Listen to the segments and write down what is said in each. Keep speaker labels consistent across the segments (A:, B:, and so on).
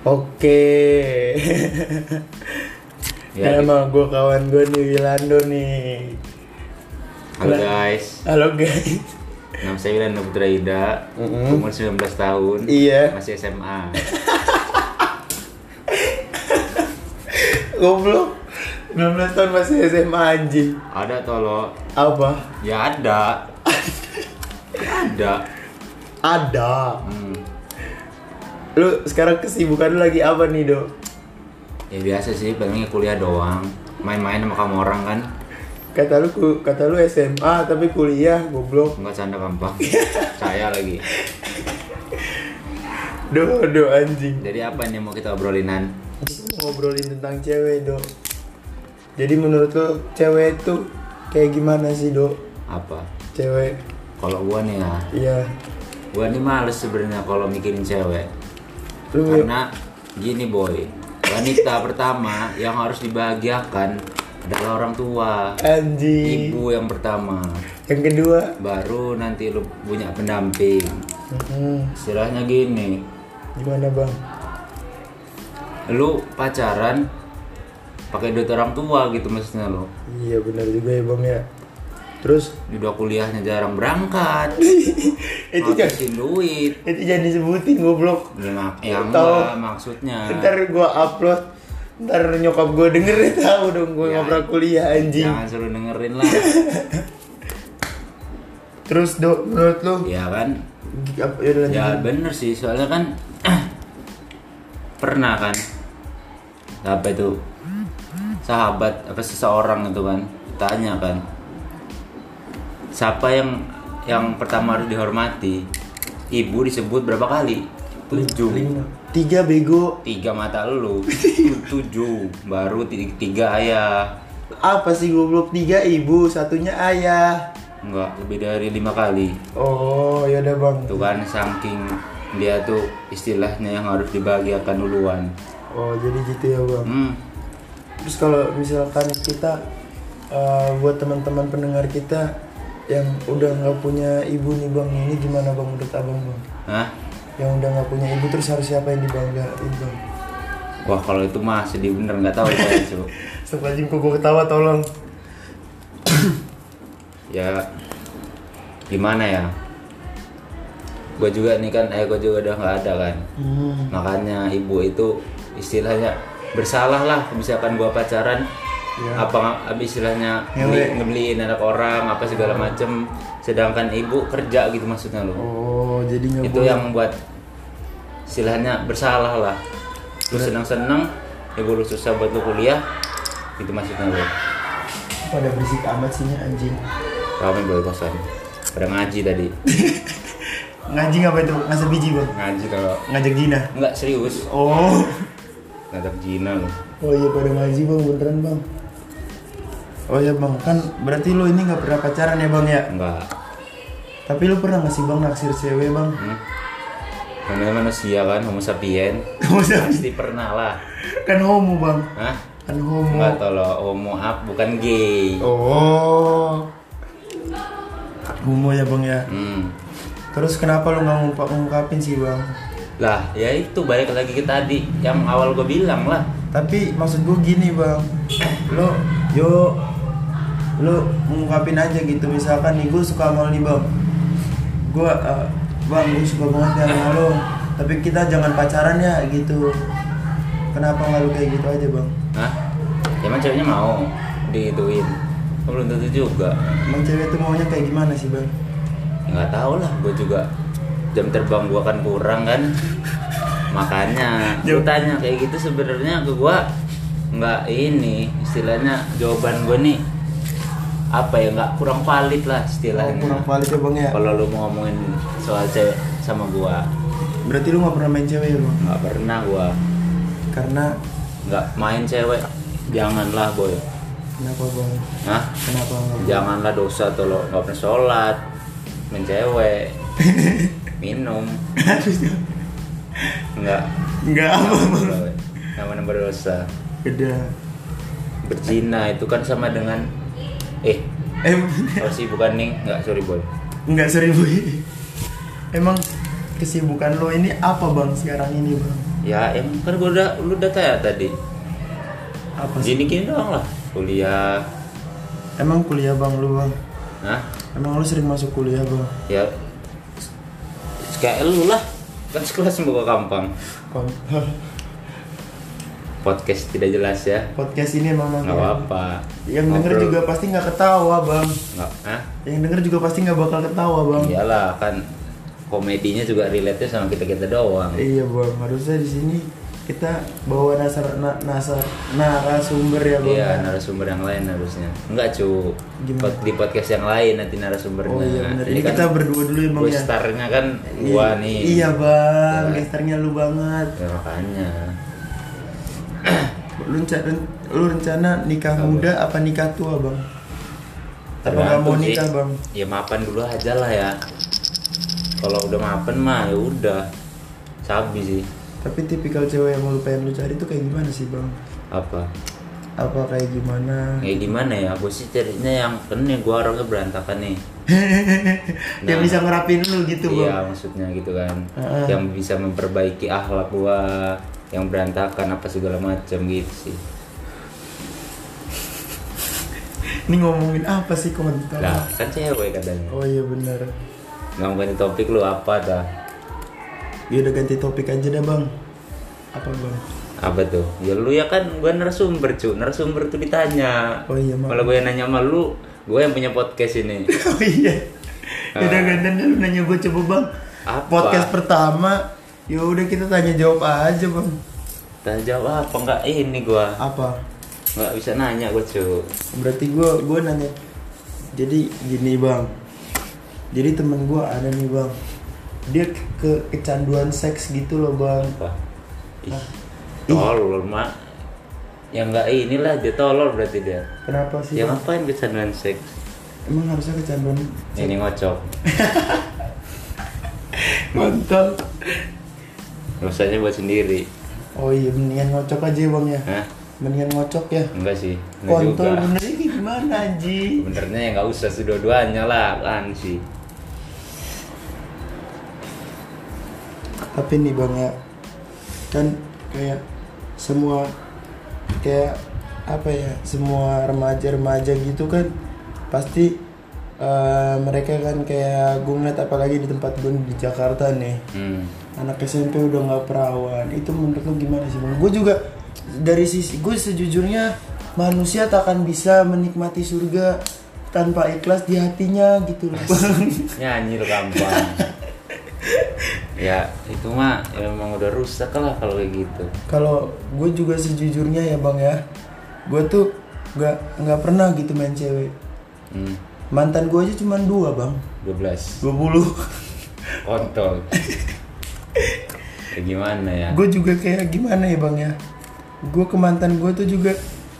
A: Oke.
B: Ya,
A: ya, sama gue kawan gue nih Wilando nih.
B: Halo guys,
A: Halo guys.
B: nama saya Wilan Putra Ida,
A: Mm-mm.
B: umur 19 tahun,
A: Iya.
B: masih SMA.
A: Goblok. 16 tahun masih SMA anjing.
B: Ada tolo,
A: Apa?
B: ya ada, ada.
A: Ada.
B: Hmm.
A: Lu sekarang kesibukan lu lagi apa nih, Dok?
B: Ya biasa sih, pengennya kuliah doang, main-main sama kamu orang kan,
A: Kata lu ku- kata lu SMA tapi kuliah goblok.
B: nggak canda gampang. saya lagi.
A: Duh, do anjing.
B: Jadi apa nih yang mau kita obrolinan?
A: Kita mau ngobrolin tentang cewek, Dok. Jadi menurut lu cewek itu kayak gimana sih, Dok?
B: Apa?
A: Cewek.
B: Kalau gua nih ya,
A: Iya.
B: gua nih males sebenarnya kalau mikirin cewek,
A: Lu
B: karena gini boy, wanita pertama yang harus dibahagiakan adalah orang tua.
A: anjing.
B: ibu yang pertama
A: Yang kedua,
B: baru nanti lu punya pendamping
A: hmm,
B: istilahnya gini
A: gimana, Bang?
B: lu pacaran pakai duit orang tua gitu maksudnya lu
A: Iya, benar juga ya, Bang ya. Terus
B: udah kuliahnya jarang berangkat
A: itu jangan
B: ngabisin duit
A: itu jangan disebutin goblok.
B: Ya, mak- ya
A: Tahu.
B: enggak maksudnya
A: Ntar gua upload, ntar nyokap gua dengerin tahu dong gua
B: Ya.
A: ngobrol kuliah anjing.
B: jangan suruh dengerin lah
A: Terus dok menurut lu
B: ya kan
A: gi- apa ya udah lanjut.
B: ya bener sih soalnya kan pernah kan apa itu sahabat apa seseorang itu kan tanya kan siapa yang yang pertama harus dihormati ibu disebut berapa kali tujuh
A: Lima. Tiga bego.
B: tiga mata lu tujuh baru ti- tiga ya. ayah
A: Apa sih goblok tiga ibu, satunya ayah.
B: enggak lebih dari lima kali
A: Oh, ya udah bang.
B: tuh kan saking dia tuh istilahnya yang harus dibahagiakan duluan
A: Oh, jadi gitu ya bang.
B: hmm.
A: Terus kalau misalkan kita eh, buat teman-teman pendengar kita yang udah nggak punya ibu nih bang, ini gimana bang menurut abang bang?
B: Hah?
A: Yang udah nggak punya ibu terus harus siapa yang dibanggain bang?
B: Wah kalau itu mah sedih bener nggak tahu saya cu.
A: Stop anjing kok gua ketawa tolong.
B: Ya gimana ya? Gue juga nih kan, eh gue juga udah nggak ada kan.
A: Hmm.
B: Makanya ibu itu istilahnya bersalah lah misalkan gua pacaran
A: Ya.
B: apa apa istilahnya
A: Ngewe.
B: beli, ngebeliin anak orang apa segala macem sedangkan ibu kerja gitu maksudnya lo
A: Oh, jadi nggak
B: itu
A: boleh.
B: yang buat istilahnya bersalah lah lu senang senang ibu lu susah buat lu kuliah itu maksudnya lo
A: pada berisik amat sih nya, anjing.
B: Rame boy kosan. Pada ngaji tadi.
A: Ngaji apa itu? Ngasih biji bang?
B: Ngaji kalau
A: Ngajak Gina.
B: enggak serius.
A: Oh.
B: Ngajak Gina loh.
A: Oh iya pada ngaji bang beneran bang. Oh iya bang, kan berarti lo ini nggak pernah pacaran ya bang ya?
B: Enggak.
A: Tapi lu pernah nggak sih bang naksir cewek bang?
B: Hmm. Namanya manusia kan homo sapien. Pasti pernah lah.
A: kan homo bang,
B: Hah?
A: kan homo.
B: Enggak tolong homo up bukan gay.
A: Oh, homo ya bang ya.
B: Hmm.
A: Terus kenapa lu nggak ngungkap ngungkapin sih bang?
B: Lah, ya itu balik lagi ke tadi yang awal gue bilang lah.
A: Tapi maksud gue gini bang, lu yo lu ngungkapin aja gitu misalkan nih gue suka sama lu nih bang, gue eh, bang gue suka banget ya sama lu, tapi kita jangan pacaran ya gitu. Kenapa nggak lu kayak gitu aja bang?
B: Hah? Emang ceweknya mau diituin. Belum tentu juga.
A: Emang cewek tuh maunya kayak gimana sih bang?
B: nggak tahu lah gue juga jam terbang gue kan kurang kan makanya
A: Jam-
B: lu tanya kayak gitu sebenarnya ke gue nggak ini istilahnya jawaban gue nih apa ya nggak kurang valid lah
A: Oh,
B: istilahnya
A: kurang valid ya bang ya?
B: kalau lu mau ngomongin soal cewek sama gue
A: Berarti lu nggak pernah main cewek ya bang?
B: nggak pernah gue
A: Karena
B: nggak main cewek janganlah boy
A: kenapa bang?
B: Hah?
A: Kenapa nggak?
B: janganlah dosa tuh lo nggak pernah sholat main cewek minum nggak
A: Enggak apa bang?
B: Nama berdosa.
A: Beda.
B: Berzina itu kan sama dengan eh
A: Eh,
B: kalau sih bukan nih nggak sorry boy.
A: enggak seribu. Emang kesibukan lo ini apa bang sekarang ini bang?
B: ya yang kan gua udah lu udah tanya tadi
A: apa sih
B: gini gini doang lah kuliah
A: emang kuliah bang lu bang
B: nah
A: emang lu sering masuk kuliah bang
B: ya kayak lu lah kan sekelas semoga gampang
A: Kon-
B: podcast tidak jelas ya
A: podcast ini emang ya.
B: nggak apa-apa
A: yang denger
B: Ngobrol.
A: juga pasti nggak ketawa bang
B: nggak ah
A: yang denger juga pasti nggak bakal ketawa bang
B: iyalah kan komedinya juga relate nya sama kita kita doang
A: iya bang harusnya di sini kita bawa nasar na, nasar narasumber ya bang
B: Iya narasumber yang lain harusnya Enggak cu
A: Gimana?
B: Pod- Di podcast yang lain nanti narasumbernya
A: Oh iya bener.
B: Ini
A: Ini
B: kan
A: kita berdua dulu ya, Bang, ya?
B: starnya kan gua
A: Iya.
B: nih
A: Iya bang,
B: Iya.
A: gesternya lu banget.
B: Ya makanya
A: Lu, renca- ren- lu rencana nikah
B: Apa?
A: muda apa nikah tua bang? Apa
B: Tergantung
A: nggak mau
B: sih.
A: nikah bang?
B: Ya mapan dulu aja lah ya Kalau udah mapan mah ya udah Sabi sih
A: Tapi tipikal cewek yang lu pengen lu cari tuh kayak gimana sih bang?
B: Apa
A: Apa kayak gimana?
B: Kayak gimana ya Aku sih carinya yang Kan nih gua orangnya berantakan nih
A: Yang
B: Nah.
A: bisa ngerapin lu gitu bang?
B: Iya maksudnya gitu kan
A: Heeh.
B: Yang bisa memperbaiki akhlak gua Yang berantakan apa segala macam gitu sih
A: Ini ngomongin apa sih komentar?
B: Lah, kan cewek katanya.
A: Oh iya benar.
B: Ngomongin topik lu apa dah?
A: Ya udah ganti topik aja dah bang. Apa bang?
B: Apa tuh? Ya lu ya kan gua narasumber, cu. Narasumber tuh ditanya.
A: Oh iya maaf.
B: Malah gue yang nanya sama lu, gue yang punya podcast ini.
A: Oh iya. Ya udah gantian lu nanya gue coba bang.
B: Apa?
A: Podcast pertama. Ya udah kita tanya jawab aja bang.
B: Tanya jawab "Ah, apa enggak ini gua?
A: Apa?
B: Enggak bisa nanya gua, cu.
A: Berarti gue gue nanya. Jadi gini bang. Jadi temen gue ada nih bang. Dia ke, ke- kecanduan seks gitu loh bang.
B: Apa? Ih. Tolol, Mak. Ya enggak inilah dia tolol berarti dia.
A: Kenapa sih?
B: Ya
A: Bang?
B: ngapain kecanduan seks?
A: Emang harusnya kecanduan
B: Ini ngocok.
A: Mantan.
B: Dosanya buat sendiri.
A: Oh iya mendingan ngocok aja ya bang ya.
B: Hah?
A: Mendingan ngocok ya.
B: Enggak sih. Enggak
A: Kontol
B: juga.
A: bener ini gimana Ji?
B: Sebenarnya ya nggak usah sih dua-duanya lah kan sih.
A: Tapi nih bang ya, kan kayak semua kayak apa ya semua remaja-remaja gitu kan pasti eh, mereka kan kayak gue ngeliat apalagi di tempat gue di Jakarta nih
B: Hmm.
A: anak SMP udah nggak perawan itu menurut lo gimana sih bang? Gue juga dari sisi gue sejujurnya manusia tak akan bisa menikmati surga tanpa ikhlas di hatinya gitu loh bang.
B: Nyanyi lu gampang. ya itu mah ya emang udah rusak lah kalau kayak gitu.
A: kalau gue juga sejujurnya ya bang ya gue tuh nggak nggak pernah gitu main cewek
B: Hmm.
A: mantan gue aja cuman dua bang
B: 12
A: 20
B: kontol. ya gimana ya?
A: gue juga kayak gimana ya bang ya gue ke mantan gue tuh juga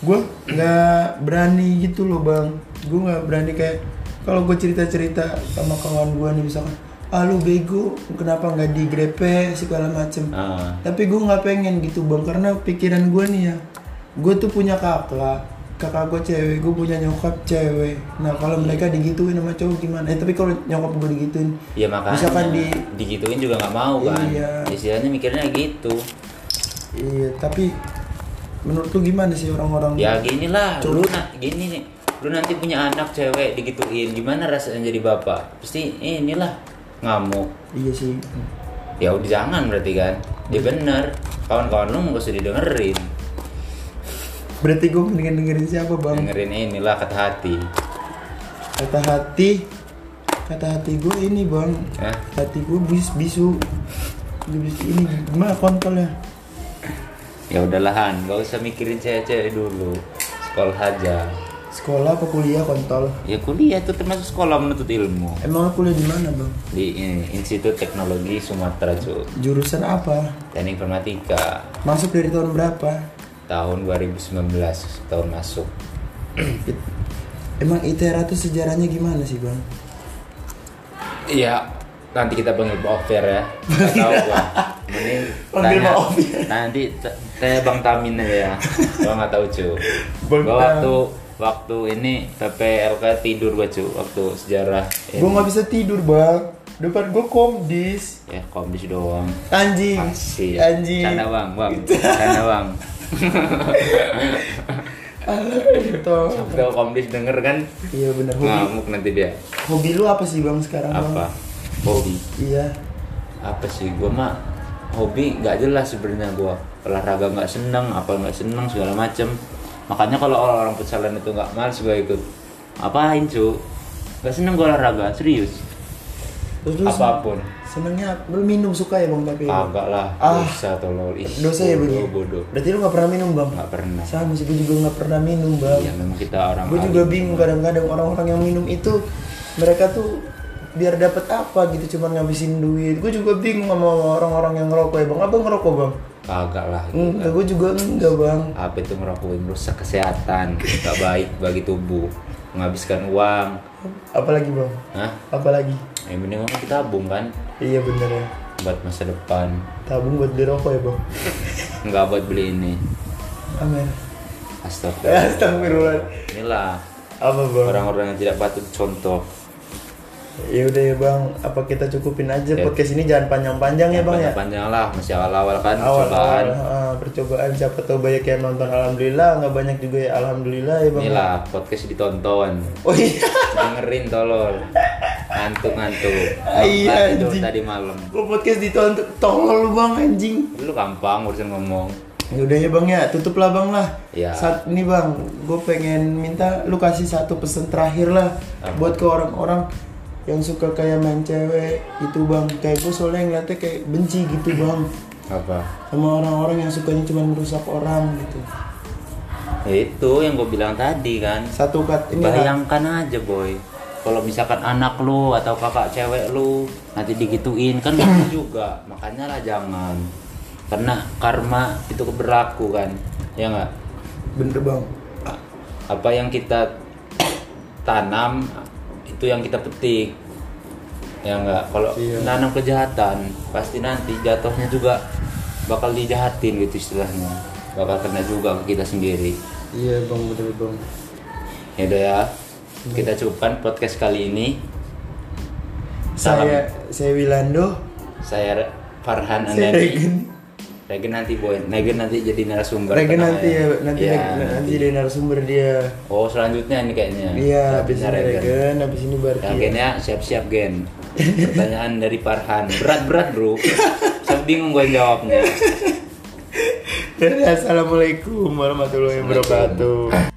A: gue nggak berani gitu loh bang gue nggak berani kayak kalau gue cerita cerita sama kawan gue nih misalkan ah lu bego kenapa nggak digrepe segala macem
B: Ah,
A: tapi gue nggak pengen gitu bang karena pikiran gue nih ya gue tuh punya kakak kakak gue cewek gue punya nyokap cewek nah kalau mereka digituin sama cowok gimana eh tapi kalau nyokap gue digituin
B: ya makanya
A: misalkan di
B: digituin juga nggak mau kan.
A: Iya.
B: Istilahnya mikirnya gitu.
A: iya tapi menurut lu gimana sih orang-orang
B: Ya gini lah, lu na- gini nih. Lu nanti punya anak cewek digituin, gimana rasanya jadi bapak? Pasti inilah ngamuk.
A: iya sih
B: ya udah jangan berarti kan dia bener kawan-kawan lu nggak usah didengerin
A: berarti gue mendingan dengerin siapa bang
B: dengerin inilah kata hati
A: kata hati kata hati gue ini bang
B: Hah?
A: hati gue bis bisu Bis- ini gimana kontol ya
B: ya udahlah nggak usah mikirin cewek-cewek dulu sekolah aja
A: sekolah apa kuliah kontol
B: ya kuliah tuh termasuk sekolah menuntut ilmu
A: emang lu kuliah di mana bang
B: di ini, Institut Teknologi Sumatera cu
A: Jurusan apa?
B: dan informatika
A: Masuk dari tahun berapa?
B: tahun 2019 tahun masuk
A: It- Emang ITERA tuh sejarahnya gimana sih bang?
B: Iya, nanti kita panggil Pak Offer ya. Nggak tahu gua. Mending
A: Panggil
B: tanya-
A: Pak Offer.
B: Nanti t- tanya Bang Tamin aja ya. Gua nggak tahu cu.
A: Bang
B: Gua
A: Tam.
B: waktu waktu ini PPLK tidur gua cu waktu sejarah.
A: Gue nggak bisa tidur bang. depan gue komdis
B: ya komdis doang
A: anjing
B: Asik.
A: anjing
B: Ah, Canda bang, bang. Canda bang.
A: gitu
B: Kalau komdis denger kan
A: iya bener hobi
B: ngamuk nanti dia.
A: hobi lu apa sih bang sekarang
B: Nah. Apa?
A: bang
B: Hobi.
A: iya
B: Apa sih gua mah hobi nggak jelas sebenarnya gua olahraga nggak seneng apa nggak seneng segala macem makanya kalau orang-orang futsalan itu nggak males gua ikut apain cu nggak seneng gua olahraga serius
A: terus lu
B: apapun
A: senengnya apa? lu minum suka ya bang tapi
B: kagak lah
A: Ah.
B: dosa tolol Ih,
A: dosa ya bang ya?
B: bodoh, bodoh
A: berarti lu nggak pernah minum bang
B: nggak pernah
A: sama sih gue juga nggak pernah minum bang
B: ya memang kita orang
A: gue juga bingung kadang-kadang orang-orang yang minum itu mereka tuh biar dapat apa gitu cuman ngabisin duit gue juga bingung sama orang-orang yang ngerokok ya bang abang ngerokok bang
B: kagak lah gitu
A: enggak gue juga enggak bang
B: apa itu ngerokok yang merusak kesehatan nggak baik bagi tubuh menghabiskan uang
A: apalagi bang
B: Hah?
A: apalagi
B: yang penting kan kita tabung kan
A: iya bener ya
B: buat masa depan
A: tabung buat beli rokok ya bang
B: nggak buat beli ini
A: amin
B: astagfirullah
A: Astagfirullah.
B: inilah
A: apa bang
B: orang-orang yang tidak patut contoh
A: ya udah ya bang apa kita cukupin aja
B: Ya.
A: podcast ini jangan panjang-panjang ya bang ya
B: panjang lah masih awal-awal kan
A: awal
B: cobaan
A: percobaan siapa tahu banyak yang nonton alhamdulillah nggak banyak juga ya alhamdulillah ya bang
B: inilah podcast ditonton
A: oh iya
B: dengerin tolol ngantuk ngantuk
A: Iya,
B: itu
A: anjing.
B: tadi malam
A: Gue podcast ditonton, tolol lu bang anjing.
B: lu gampang urusan ngomong
A: Ya udah ya bang ya, tutup lah bang lah.
B: Ya.
A: Saat ini bang, gue pengen minta lu kasih satu pesan terakhir lah
B: Apa?
A: buat ke orang-orang yang suka kayak main cewek gitu bang. Kayak gue soalnya ngeliatnya kayak benci gitu bang
B: apa
A: sama orang-orang yang sukanya cuma merusak orang gitu.
B: Ya itu yang gue bilang tadi kan
A: Satu kat ini lah.
B: bayangkan aja boy kalau misalkan anak lu atau kakak cewek lu nanti digituin kan lucu juga makanya lah jangan karena karma itu berlaku kan ya nggak
A: bener bang.
B: apa yang kita tanam itu yang kita petik ya nggak kalau
A: Iya.
B: nanam kejahatan pasti nanti jatuhnya juga bakal dijahatin gitu istilahnya bakal kena juga ke kita sendiri
A: Iya bang bener bang.
B: Ya udah ya. Kita cukupkan podcast kali ini. Salam.
A: Saya saya Wilando.
B: Saya Farhan
A: Saya
B: Andani.
A: Regen.
B: Regen nanti boy. Regen nanti jadi narasumber.
A: Regen
B: Tenang
A: nanti
B: aja.
A: ya, nanti
B: Iya,
A: Regen- nanti jadi narasumber dia.
B: Oh, selanjutnya ini kayaknya.
A: Iya, habis
B: Selanjutnya
A: ini Regen, habis ini
B: Ya,
A: Barti.
B: Gen ya, siap-siap Gen. Pertanyaan dari Farhan. Berat-berat, Bro. Saya bingung gue jawabnya.
A: Assalamualaikum warahmatullahi wabarakatuh.